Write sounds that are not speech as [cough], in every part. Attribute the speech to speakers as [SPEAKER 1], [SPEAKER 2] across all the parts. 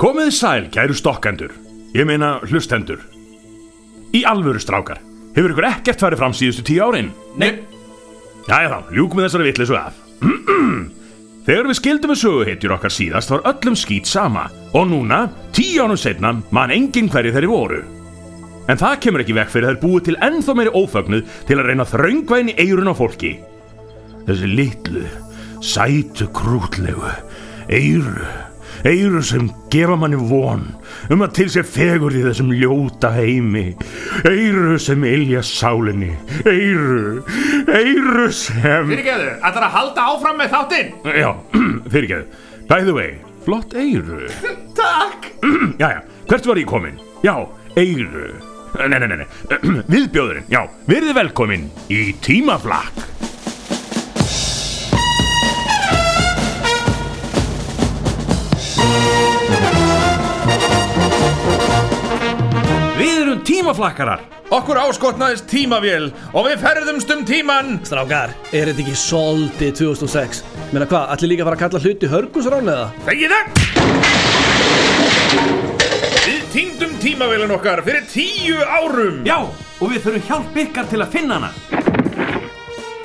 [SPEAKER 1] Komið sæl, kæru stokkendur. Ég meina hlustendur. Í alvöru strákar. Hefur ykkur ekkert farið fram síðustu tíu árin?
[SPEAKER 2] Nei,
[SPEAKER 1] Jæja þá, ljúkum við þessari vitleysu af. Þegar við skildum við söguhetjur okkar síðast var öllum skýt sama og núna, tíu ánum setna, man enginn hverju þeirri voru. En það kemur ekki vekk fyrir að þær búið til ennþá meiri ófögnuð til að reyna að þröngva inn í eirun á fólki. Þessi litlu, sætu krútlegu, eiru, eiru sem gefa manni von um að til sér fegur í þessum ljóta heimi, eiru sem ilja sálinni, eiru, eiru sem...
[SPEAKER 2] fyrirgeðu, ætlar að halda áfram með þáttinn?
[SPEAKER 1] Já, [clears throat] fyrirgeðu. By the way, flott [clears throat] eiru.
[SPEAKER 2] Takk!
[SPEAKER 1] Jæja, hvert var ég komin? Já, eiru. Nei, nei, [clears throat] nei, nei. viðbjóðurinn, já, verið velkomin í tímaflakk. Við erum tímaflakkarar.
[SPEAKER 2] Okkur áskotnaðist tímavél og við ferðumst um tíman
[SPEAKER 3] Strákar, er þetta ekki soldið 2006? Meina hvað, allir líka að fara að kalla hluti hörgusrán eða?
[SPEAKER 2] Þegið það! Við týndum tímavélin okkar fyrir tíu árum
[SPEAKER 1] Já, og við þurfum hjálp ykkar til að finna hana.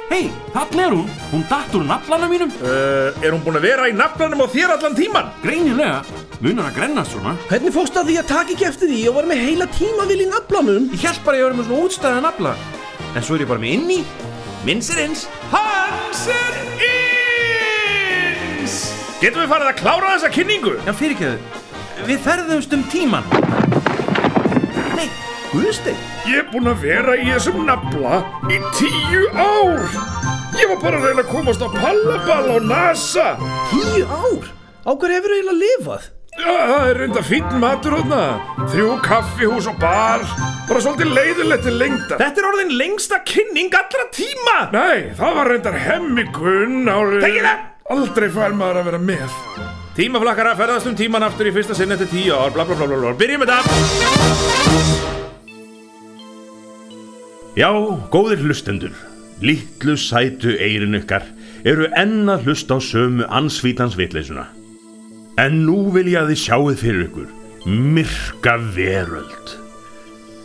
[SPEAKER 1] Hei, þarna er hún. Hún datt úr naflanum mínum.
[SPEAKER 2] uh, Er hún búin að vera í naflanum á þér allan tíman?
[SPEAKER 1] Greinilega, munar að grenna svona.
[SPEAKER 3] Hvernig fórst að því að taka ekki eftir því og var með heila tímavíl í um naflanum?
[SPEAKER 1] Ég held bara að ég verið með svona útstæða nafla En svo er ég bara með inni Minns er eins
[SPEAKER 2] Hans er ins! Getum við farið að klára þessa kynningu?
[SPEAKER 1] Já, fyrirgeðu Við ferðumst um tíman Nei, Guðstein
[SPEAKER 2] Ég er búin að vera í þessum nafla í tíu ár Ég var bara að reyna að komast á pallaball á NASA
[SPEAKER 3] Tíu ár? Á hverju hefur eiginlega lifað?
[SPEAKER 2] Já, það er reynda fínn matur hodna Þrjú kaffihús og bar Bara svolítið leiðilegt til lengda Þetta er orðin lengsta kynning allra tíma Nei, það var reyndar hemmikun árið Þegið það! Aldrei fær maður að vera með Tímaflakkara ferðast um tíman aftur í fyrsta sinn eftir tíu ár Bla bla bla bla bla Byrjum þetta
[SPEAKER 1] Já, góðir hlustendur Littlu sætu eirin ykkar Eru enn að hlusta á sömu ansvítans vitleysuna En nú vil ég að þið sjáuð fyrir ykkur Myrka veröld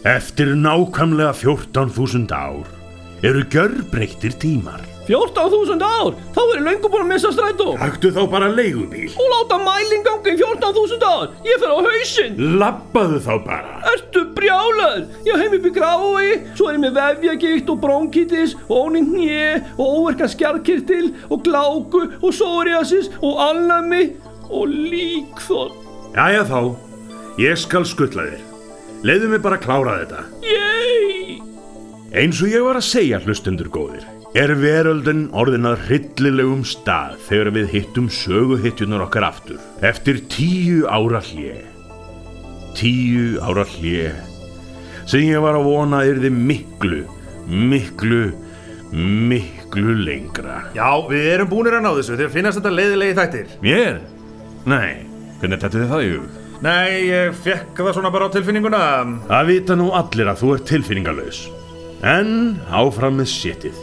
[SPEAKER 1] Eftir nákvæmlega 14.000 ár Eru gjörbreyttir tímar
[SPEAKER 3] 14.000 ár? Þá er ég löngu búin að missa strætó
[SPEAKER 1] Taktu þá bara leigubíl
[SPEAKER 3] Og láta mælinn gangi í 14.000 ár Ég fer á hausinn
[SPEAKER 1] Lappaðu þá bara
[SPEAKER 3] Ertu brjálaður? Ég á heim upp í grái, svo er ég með vefjagíkt og bronkitis og ónýnt njö og óverkan skjarkirtil og gláku og sóriasis og alnami og líkþótt.
[SPEAKER 1] Jæja þá, ég skal skutla þér. Leiðu mig bara að klára þetta.
[SPEAKER 3] Yey!
[SPEAKER 1] Eins og ég var að segja hlustundur góðir, er veröldin orðin að hryllilegum stað þegar við hittum söguhittjunar okkar aftur. Eftir tíu ára hlje. Tíu ára hlje. Sem ég var að vona að yrði miklu, miklu, miklu lengra.
[SPEAKER 2] Já, við erum búinir að ná þessu Þið finnast þetta leiðilegi þættir
[SPEAKER 1] Mér? Nei, hvernig tættu þið það í hug?
[SPEAKER 2] Nei, ég fekk það svona bara á tilfinninguna
[SPEAKER 1] Það vita nú allir að þú ert tilfinningalös. En áfram með sétið.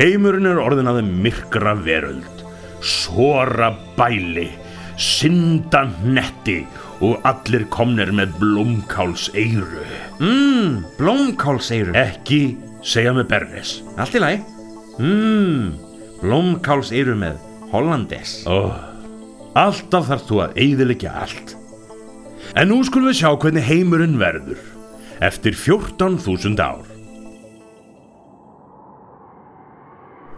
[SPEAKER 1] Heimurinn er orðin að myrkra veröld, sora bæli, synda netti og allir komnir með blómkáls eiru.
[SPEAKER 4] Mm,
[SPEAKER 1] Mmm, blómkáls eiru. Ekki segja með bernis.
[SPEAKER 4] Allt í lagi Mmm, blómkáls eru með Hollandes
[SPEAKER 1] Ó, alltaf þarf þú að eigðilegja allt. En nú skulum við sjá hvernig heimurinn verður eftir 14.000 ár.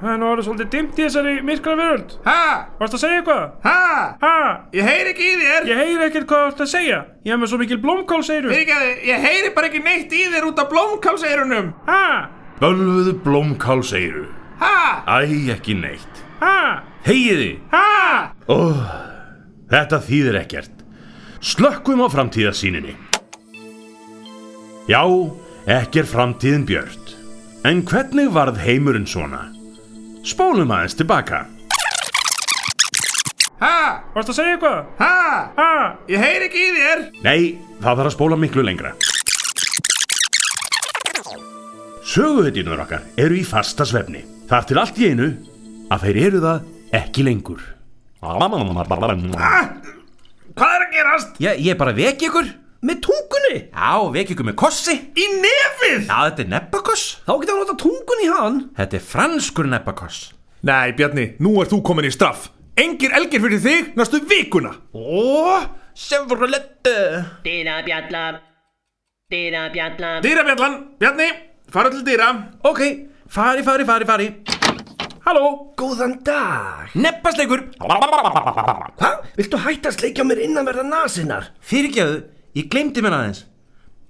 [SPEAKER 5] Það er nú alveg svolítið dimmt í þessari myrkara veröld.
[SPEAKER 2] Ha?
[SPEAKER 5] Varst að segja eitthvað?
[SPEAKER 2] Ha?
[SPEAKER 5] Ha?
[SPEAKER 2] Ég heyri ekki í þér
[SPEAKER 5] Ég heyri ekkert hvað þú ert að segja. Ég hef með svo mikil blómkálseiru.
[SPEAKER 2] Fyrirgeðu, ég heyri bara ekki neitt í þér út af blómkálseirunum
[SPEAKER 5] Ha?
[SPEAKER 1] Bölvuðu blómkálseiru.
[SPEAKER 2] Ha?
[SPEAKER 1] Æ, ekki neitt.
[SPEAKER 5] Ha?
[SPEAKER 1] Hegiði!
[SPEAKER 5] Ha?
[SPEAKER 1] Ó, þetta þýðir ekkert. Slökkum á framtíðasíninni. Já, ekki er framtíðin björt. En hvernig varð heimurinn svona? Spólum aðeins tilbaka.
[SPEAKER 2] Ha?
[SPEAKER 5] Varst að segja eitthvað?
[SPEAKER 2] Ha?
[SPEAKER 5] Ha?
[SPEAKER 2] Ég heyri ekki í þér
[SPEAKER 1] Nei, það þarf að spóla miklu lengra. Söguhetjunar okkar eru í fasta svefni. Þar til allt í einu að þeir eru það ekki lengur.
[SPEAKER 2] Hvað er að gera? gerast?
[SPEAKER 1] Ég, ég bara veki ykkur.
[SPEAKER 6] Með tungunni?
[SPEAKER 1] Já, veki ykkur með kossi.
[SPEAKER 2] Í nefið?
[SPEAKER 1] Já, þetta er neppakoss.
[SPEAKER 6] Þá getur hann nota tungunni í hann.
[SPEAKER 1] Þetta er franskur neppakoss.
[SPEAKER 7] Nei, Bjarni, nú ert þú komin í straff. Engir elgir fyrir þig næstu vikuna.
[SPEAKER 1] Ó, Chevrolet.
[SPEAKER 8] Dina Bjallar Dina Bjallar
[SPEAKER 2] Dýrabjallan, Bjarni, fara til dýra.
[SPEAKER 1] Ok, fari, fari, fari, fari.
[SPEAKER 2] Halló.
[SPEAKER 6] Góðan dag.
[SPEAKER 1] Neppasleikur.
[SPEAKER 6] Hva? Viltu hætta að sleikja mér innanverða nasinnar?
[SPEAKER 1] Fyrirgjöðu, ég glemdi mér aðeins.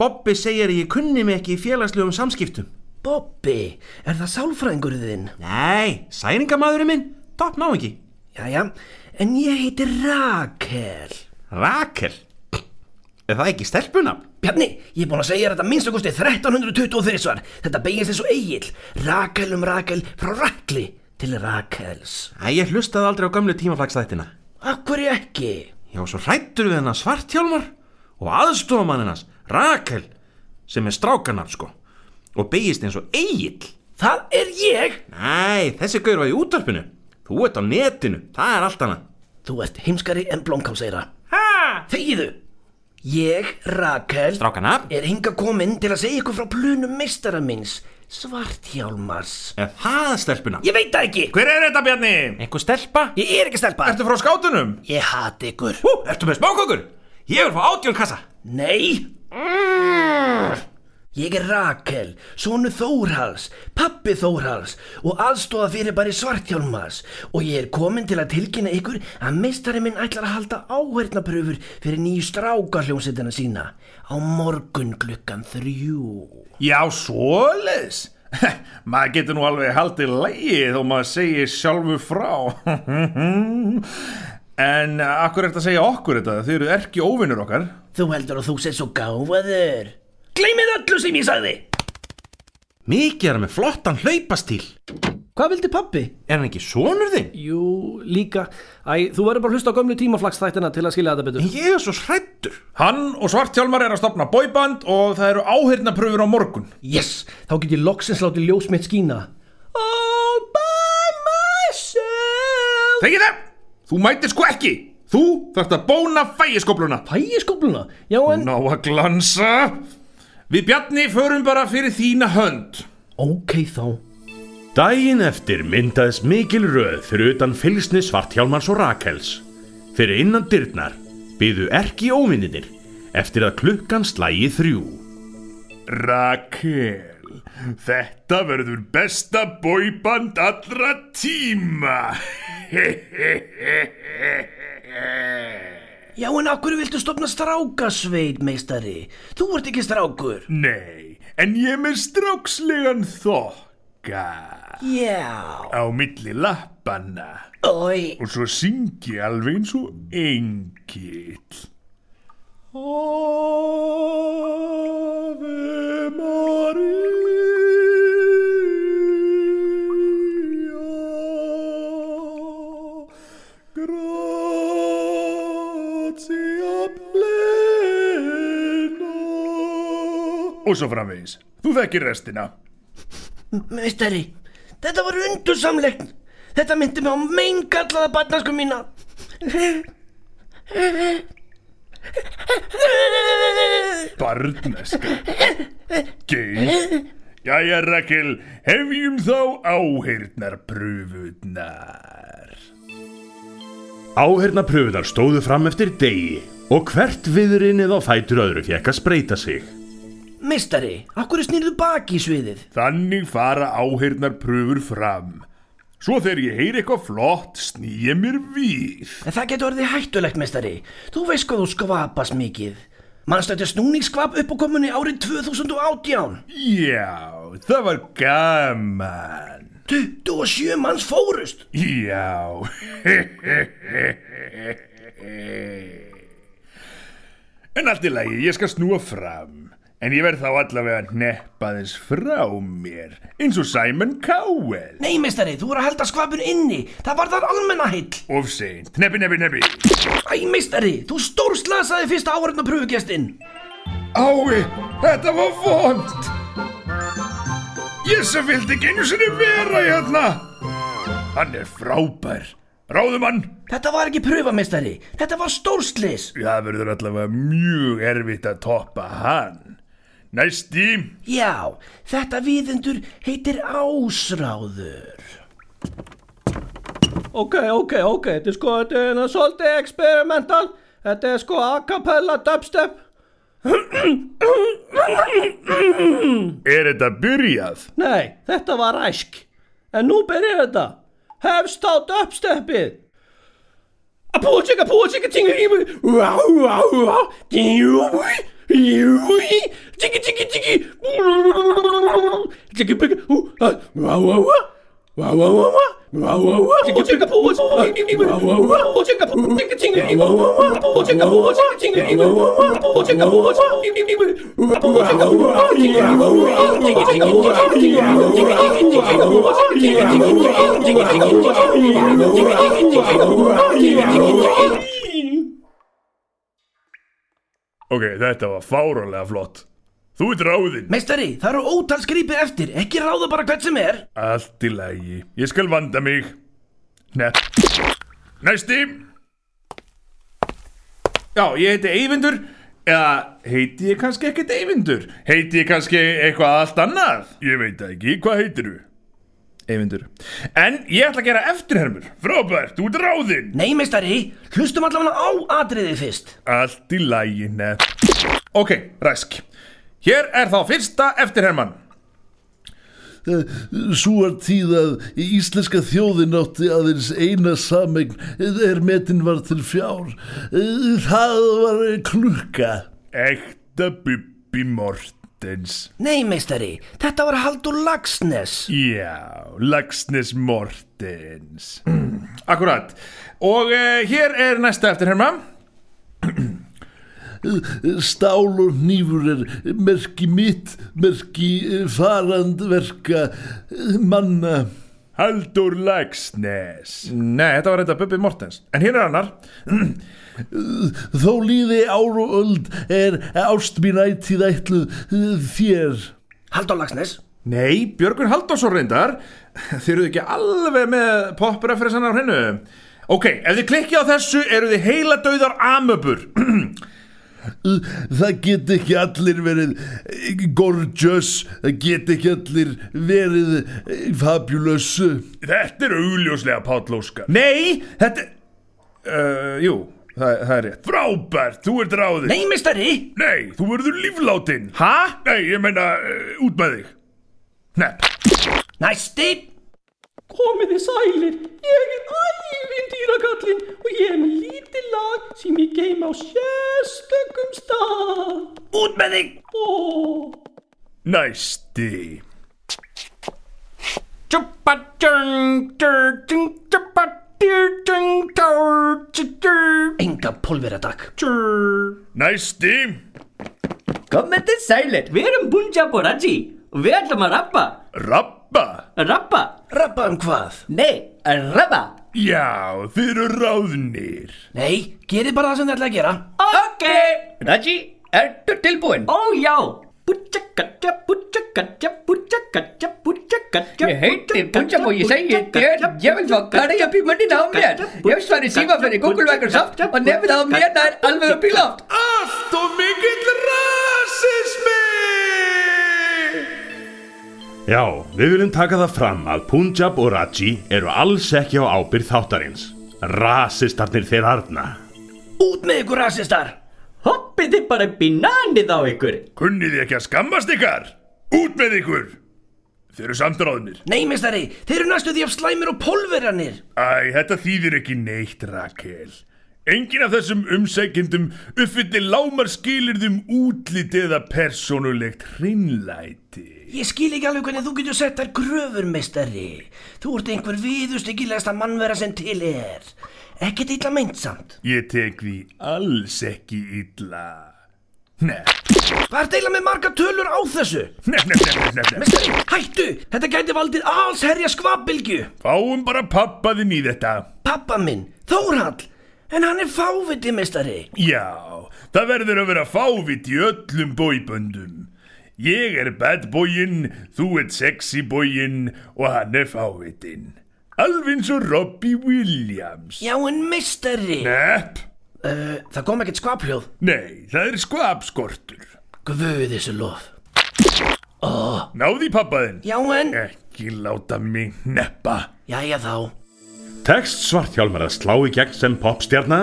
[SPEAKER 1] Bobbi segir að ég kunni mig ekki í félagslegum samskiptum.
[SPEAKER 6] Bobby, er það sálfræðingurinn þinn?
[SPEAKER 1] Nei, særingamadurinn minn, topp ná ekki.
[SPEAKER 6] Jæja, en ég heiti Rakel.
[SPEAKER 1] Rakel. Er það ekki stelpunafn?
[SPEAKER 6] Bjarni, ég er búin að segja þér þetta minnst okkusti 1323 svar. Þetta beigist eins og eigil. Rakel um Rakel frá Rakli til Rakels.
[SPEAKER 1] Æ, ég hlustaði aldrei á gamlu tímaflagsþættina.
[SPEAKER 6] Akkur ég ekki?
[SPEAKER 1] Ég var svo hrættur við hennar svartjálmar og aðstofamanninnas, Rakel, sem er strákanar, sko. Og beigist eins og eigill.
[SPEAKER 6] Það er ég.
[SPEAKER 1] Æ, þessi gaur var í útarpinu. Þú ert á netinu, það er allt annað.
[SPEAKER 6] Þú ert heimskari en blómkálseira.
[SPEAKER 9] Ha!
[SPEAKER 6] Þegiðu. Ég, Rakel,
[SPEAKER 1] Strákanar,
[SPEAKER 6] er hinga kominn til að segja ykkur frá plunum mistara minns, Svartjálmars.
[SPEAKER 1] er það stelpunafn?
[SPEAKER 6] Ég veit það ekki.
[SPEAKER 2] Hver er þetta, Bjarni?
[SPEAKER 1] Einhver stelpa?
[SPEAKER 6] Ég er ekki stelpa.
[SPEAKER 2] Ertu frá skátunum?
[SPEAKER 6] Ég hati ykkur.
[SPEAKER 1] Hú, ertu með smákökur? Ég vil fá átjón kassa.
[SPEAKER 6] Nei Ég er Rakel, sonu Þórhals, pappi Þórhals og aðstofa fyrir bara svartjálmas og ég er komin til að tilkynna ykkur að meistari minn ætlar að halda áhernapröfur fyrir nýju strákarljómsettina sína á morgun klukkan þrjú.
[SPEAKER 2] Já, svoleiðis. [laughs] maður getur nú alveg haldið lægið og maður segir sjálfu frá. [laughs] en akkur er þetta að segja okkur þetta? Þau eru erki óvinnur okkar.
[SPEAKER 6] Þú heldur að þú sér svo gáfaður. Gleimið öllu sem ég sagði.
[SPEAKER 1] Mikið er hann með flottan hlaupastíl.
[SPEAKER 6] Hvað vildi pappi?
[SPEAKER 1] Er hann ekki sonur þinn?
[SPEAKER 10] Jú, líka. Æ, þú verður bara að hlusta á gömlu tímaflagsþættina til að skilja þetta betur.
[SPEAKER 1] Ég er svo hrættur.
[SPEAKER 2] Hann og Svartjálmar er að stopna bóiband og það eru áheyrnapröfur á morgun.
[SPEAKER 10] Yes, þá get ég loksins látið ljós mitt skína. All by myself.
[SPEAKER 2] Þegi það! Þú mætir sko ekki! Þú þarft að bóna fægiskopluna.
[SPEAKER 10] Fæ ég skópluna? Já, en...
[SPEAKER 2] Ná að glansa. Við Bjarni förum bara fyrir þína hönd.
[SPEAKER 10] Mm. Ok, þá.
[SPEAKER 11] Dægin eftir myndaðist mikil röð fyrir utan fylgsni Svarthjálmars og Rakels. Fyrir innan dyrnar byðu erki óvinninir eftir að klukkan slægi þrjú.
[SPEAKER 2] Rakel, þetta verður besta bóiband allra tíma. [laughs]
[SPEAKER 6] Já, en af hverju viltu stopna strákasveit, meistari? Þú ert ekki strákur.
[SPEAKER 2] Nei, en ég er með strákslegan þokka
[SPEAKER 6] Já.
[SPEAKER 2] á milli lappanna
[SPEAKER 6] Oi.
[SPEAKER 2] og svo syngi ég alveg eins og engill. Ave Maria Grazia plena Og svo framvegis, þú þekkir restina
[SPEAKER 6] Meistari, þetta var undursamlegt. Þetta myndi mig á meingallaða barnasku mína.
[SPEAKER 2] Barneska Geir Jæja Rakel, hefjum þá áheyrnar pröfutnar
[SPEAKER 11] Áherna pröfunar stóðu fram eftir degi og hvert viðrinnið á fætur öðru fekk að spreita sig.
[SPEAKER 6] Meistari, akkur snýrðu baki í sviðið?
[SPEAKER 2] Þannig fara áheyrnar pröfur fram Svo þegar ég heyri eitthvað flott snýja mér við
[SPEAKER 6] En það getur orðið hættulegt, meistari. Þú veist hvað þú skvapast mikið. Manstu þetta snúningskvap upp á komunni árið 2018.
[SPEAKER 2] Já, það var gaman
[SPEAKER 6] 27 manns fórust.
[SPEAKER 2] Já [laughs] En allt í lagi, ég skal snúa fram En ég verð þá allavega neppaðins frá mér Eins og Simon Cowell
[SPEAKER 6] Nei, meistari, þú voru að helda skvapun inni. Það var þar almenna heill.
[SPEAKER 2] Of seint, neppi, neppi, neppi
[SPEAKER 6] Æ, meistari, þú stórslasaði fyrsta áhörðna pröfugjastinn.
[SPEAKER 2] Ái, þetta var vond Ég sem vildi ekki einu sinni vera hérna Hann er frábær Ráðum hann,
[SPEAKER 6] Þetta var ekki pröfameistari, þetta var stórslis.
[SPEAKER 2] Það verður allavega mjög erfitt að toppa hann. Næsti,
[SPEAKER 6] Já, þetta viðendur heitir ásráður.
[SPEAKER 3] Ok, ok, ok, þetta er sko, þetta er hérna svolítið experimental Þetta er sko acapella dubstep
[SPEAKER 2] er þetta byrjað?
[SPEAKER 3] Nei, þetta var ræsk En nú byrjar þetta Hefst á dubstepið Að búa tjekka, búa tjekka, tjekka, tjekka Vá, vá, vá Júi, júi Tjekki, tjekki, tjekki Tjekki, tjekki Vá, vá, vá Vá, vá, vá, vá Vá, vá, vá Tjekki, tjekka, búa, tjekka Vá, vá, vá Búa tjekka, búa, tjekka, tjekka Vá, vá, vá Búa tjekka, búa, tjekka, tjekka Vá, vá, vá Búa tjekka, búa, tjekka, tjekka Búa tjekka, búa, tjekka Tjekki, tjekki, tjekki
[SPEAKER 2] Ok, þetta var fárónlega flott. Þú ert ráðinn.
[SPEAKER 6] Meistari, það eru ótal skrýpið eftir, ekki ráða bara hvert sem er.
[SPEAKER 2] Allt í lagi. Ég skal vanda mig. Nei. Næsti. Já, ég heiti Eyvindur. Eða heiti ég kannski ekkert Eyvindur? Heiti ég kannski eitthvað allt annað? Ég veit það ekki. Hvað heitir þú? Eyvindur. En ég ætla að gera eftirhermur. Frábært, þú ert ráðinn.
[SPEAKER 6] Nei, meistari, hlustum allavega á atriðið fyrst.
[SPEAKER 2] Allt í lagi. Nei. Ok, ræsk. Hér er þá fyrsta eftirherman.
[SPEAKER 12] Sú var tíð að íslenska þjóðin átti aðeins eina samegn er metin var til fjár. Það var klukka.
[SPEAKER 2] Ekta Bubbi Mortens
[SPEAKER 6] Nei, meistari, þetta var Haldur Lagsnes.
[SPEAKER 2] Já, Lagsnes Mortens [clears throat] Mm, Akkurat Og uh, hér er næsta eftir herma
[SPEAKER 12] Stál og nýfur er merki mitt, merki farandverka manna.
[SPEAKER 2] Haldur Lagsnes Nei, þetta var þetta Bubbi Mortens En hér er annar
[SPEAKER 12] Þó líði ár og öld er ást mín ættið ætluð þér.
[SPEAKER 6] Haldur Lagsnes.
[SPEAKER 2] Nei, Björgur Halldórsson reyndar [laughs] Þið eruð ekki alveg með poppreferensan á hennu Ok, ef þið klikkið á þessu eruð þið heila dauðar amöbur
[SPEAKER 12] Það get ekki allir verið [clears throat] gorgeous, það get ekki allir verið eh, fabulous.
[SPEAKER 2] Þetta er augljóslega Páll Óskar Nei, þetta uh, Jú, það, það er rétt Frábært, þú ert ráðið
[SPEAKER 6] Nei, meistari,
[SPEAKER 2] Nei, þú verður líflátin Hæ? Nei, ég meina, uh, út með þig Nepp
[SPEAKER 6] næsti.
[SPEAKER 3] Komið þið sælir, ég er ævindýrakallinn og ég er með lítið lag sem ég geim á sérstökum stað.
[SPEAKER 6] Út með þig.
[SPEAKER 3] Ó,
[SPEAKER 2] Næsti
[SPEAKER 6] Enga pólveradag.
[SPEAKER 2] Næsti
[SPEAKER 13] Komið þið sælir, við erum Punjab og Raji og við ætlum að rappa,
[SPEAKER 2] Rabba
[SPEAKER 13] rappa,
[SPEAKER 6] Rappa um hvað?
[SPEAKER 13] nei, rappa,
[SPEAKER 2] Já, þið eru ráðnir
[SPEAKER 6] Nei, gerið bara það sem þið ætlaði að gera.
[SPEAKER 13] ok,
[SPEAKER 14] Øh,
[SPEAKER 6] Raji.
[SPEAKER 14] er
[SPEAKER 13] ertu tilbúin? Ó já, bútjakatja, bútjakatja, bútjakatja, bútjakatja,
[SPEAKER 14] Ég heiti Punjab og ég segi þér, ég er- vil fá karri upp í munnin á mér. Ég hef svarið síma fyrir Google Microsoft og nefnir á mér nær alveg upp í loft.
[SPEAKER 2] Allt og mikill rasismi
[SPEAKER 1] Já, við viljum taka það fram að Punjab og Raji eru alls ekki á ábyrð þáttarins. Rasistarnir þeir arna.
[SPEAKER 6] Út með ykkur rasistar.
[SPEAKER 13] hoppið þið bara upp í nanið á ykkur,
[SPEAKER 2] Kunnið þið ekki að skammast ykkar Út með ykkur Þið eru samt ráðnir
[SPEAKER 6] Nei, meistari, þeir eru næstu því af slæmir og pólveranir.
[SPEAKER 2] Æ, þetta þýðir ekki neitt, Rakel. Engin af þessum umsækjendum uppfyllir lámarskilirðum útlit eða persónulegt hreinlæti.
[SPEAKER 6] Ég skil ekki alveg hvernig þú getur sett þær gröfur, meistari. Þú ert einhver viðustykilegasta mannvera sem til er. Ekkert illa meint samt.
[SPEAKER 2] Ég tek því alls ekki illa. Nei,
[SPEAKER 6] Hvað er deila með marga tölur á þessu?
[SPEAKER 2] nei, nei, nei, nei, nei, nei.
[SPEAKER 6] Meistari, hættu! Þetta gæti valdið alls herja skvabilgju.
[SPEAKER 2] Fáum bara pappa þinn í þetta.
[SPEAKER 6] Pappa minn, Þórhall, en hann er fáviti, meistari.
[SPEAKER 2] Já, það verður að vera fávit í öllum bóiböndum. Ég er bad boyin, þú ert sexy boyin og hann er fávitinn.
[SPEAKER 15] Alveg eins og Robbie Williams.
[SPEAKER 6] Já, en mistari.
[SPEAKER 15] Nepp.
[SPEAKER 6] Uh, það kom ekkert skvaphljóð.
[SPEAKER 15] Nei, það er skvapskortur.
[SPEAKER 6] Guð þessu lof.
[SPEAKER 15] Oh. Náði í pappaðinn.
[SPEAKER 6] Já, en...
[SPEAKER 15] Ekki láta mig neppa.
[SPEAKER 6] Jæja þá.
[SPEAKER 1] Tekst Svarthjálmar að slá í gegn sem popstjarna?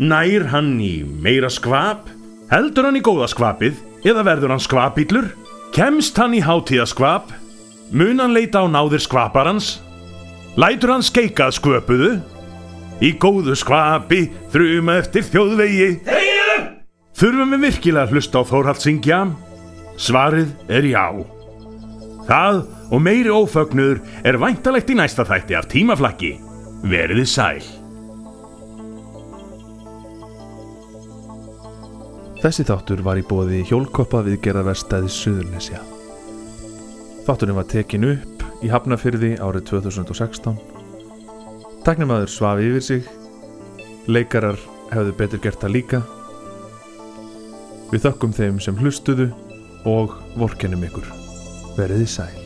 [SPEAKER 1] Nær hann í meira skvap? Heldur hann í góða skvapið? Eða verður hann skvapillur? Kemst hann í hátíðaskvap? Mun hann leita á náðir skvaparans? Lætur hann skeikað sköpuðu? Í góðu skvapi þrjum eftir þjóðvegi Þegiðu! Þurfum við virkilega að hlusta á Þórhald syngja? Svarið er já. Það og meiri ófögnuður er væntalegt í næsta þætti af tímaflakki. Verðið sæl.
[SPEAKER 2] Þessi þáttur var í bóði hjólkoppa við gerðarverstaði Suðurnesja. Þátturinn var tekin upp í Hafnafyrði árið 2016. Tæknumæður svafi yfir sig, leikarar hefðu betur gert það líka. Við þökkum þeim sem hlustuðu og vorkennum ykkur. Verðið sæl.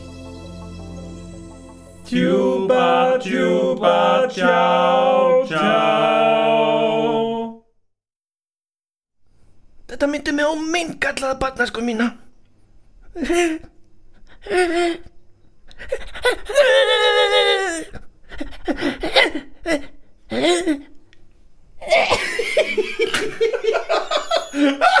[SPEAKER 16] Tjúba, tjúba, tjá, tjá.
[SPEAKER 6] Þetta myndi mig á meingallaða barnasku mína.
[SPEAKER 17] Ha ha ha!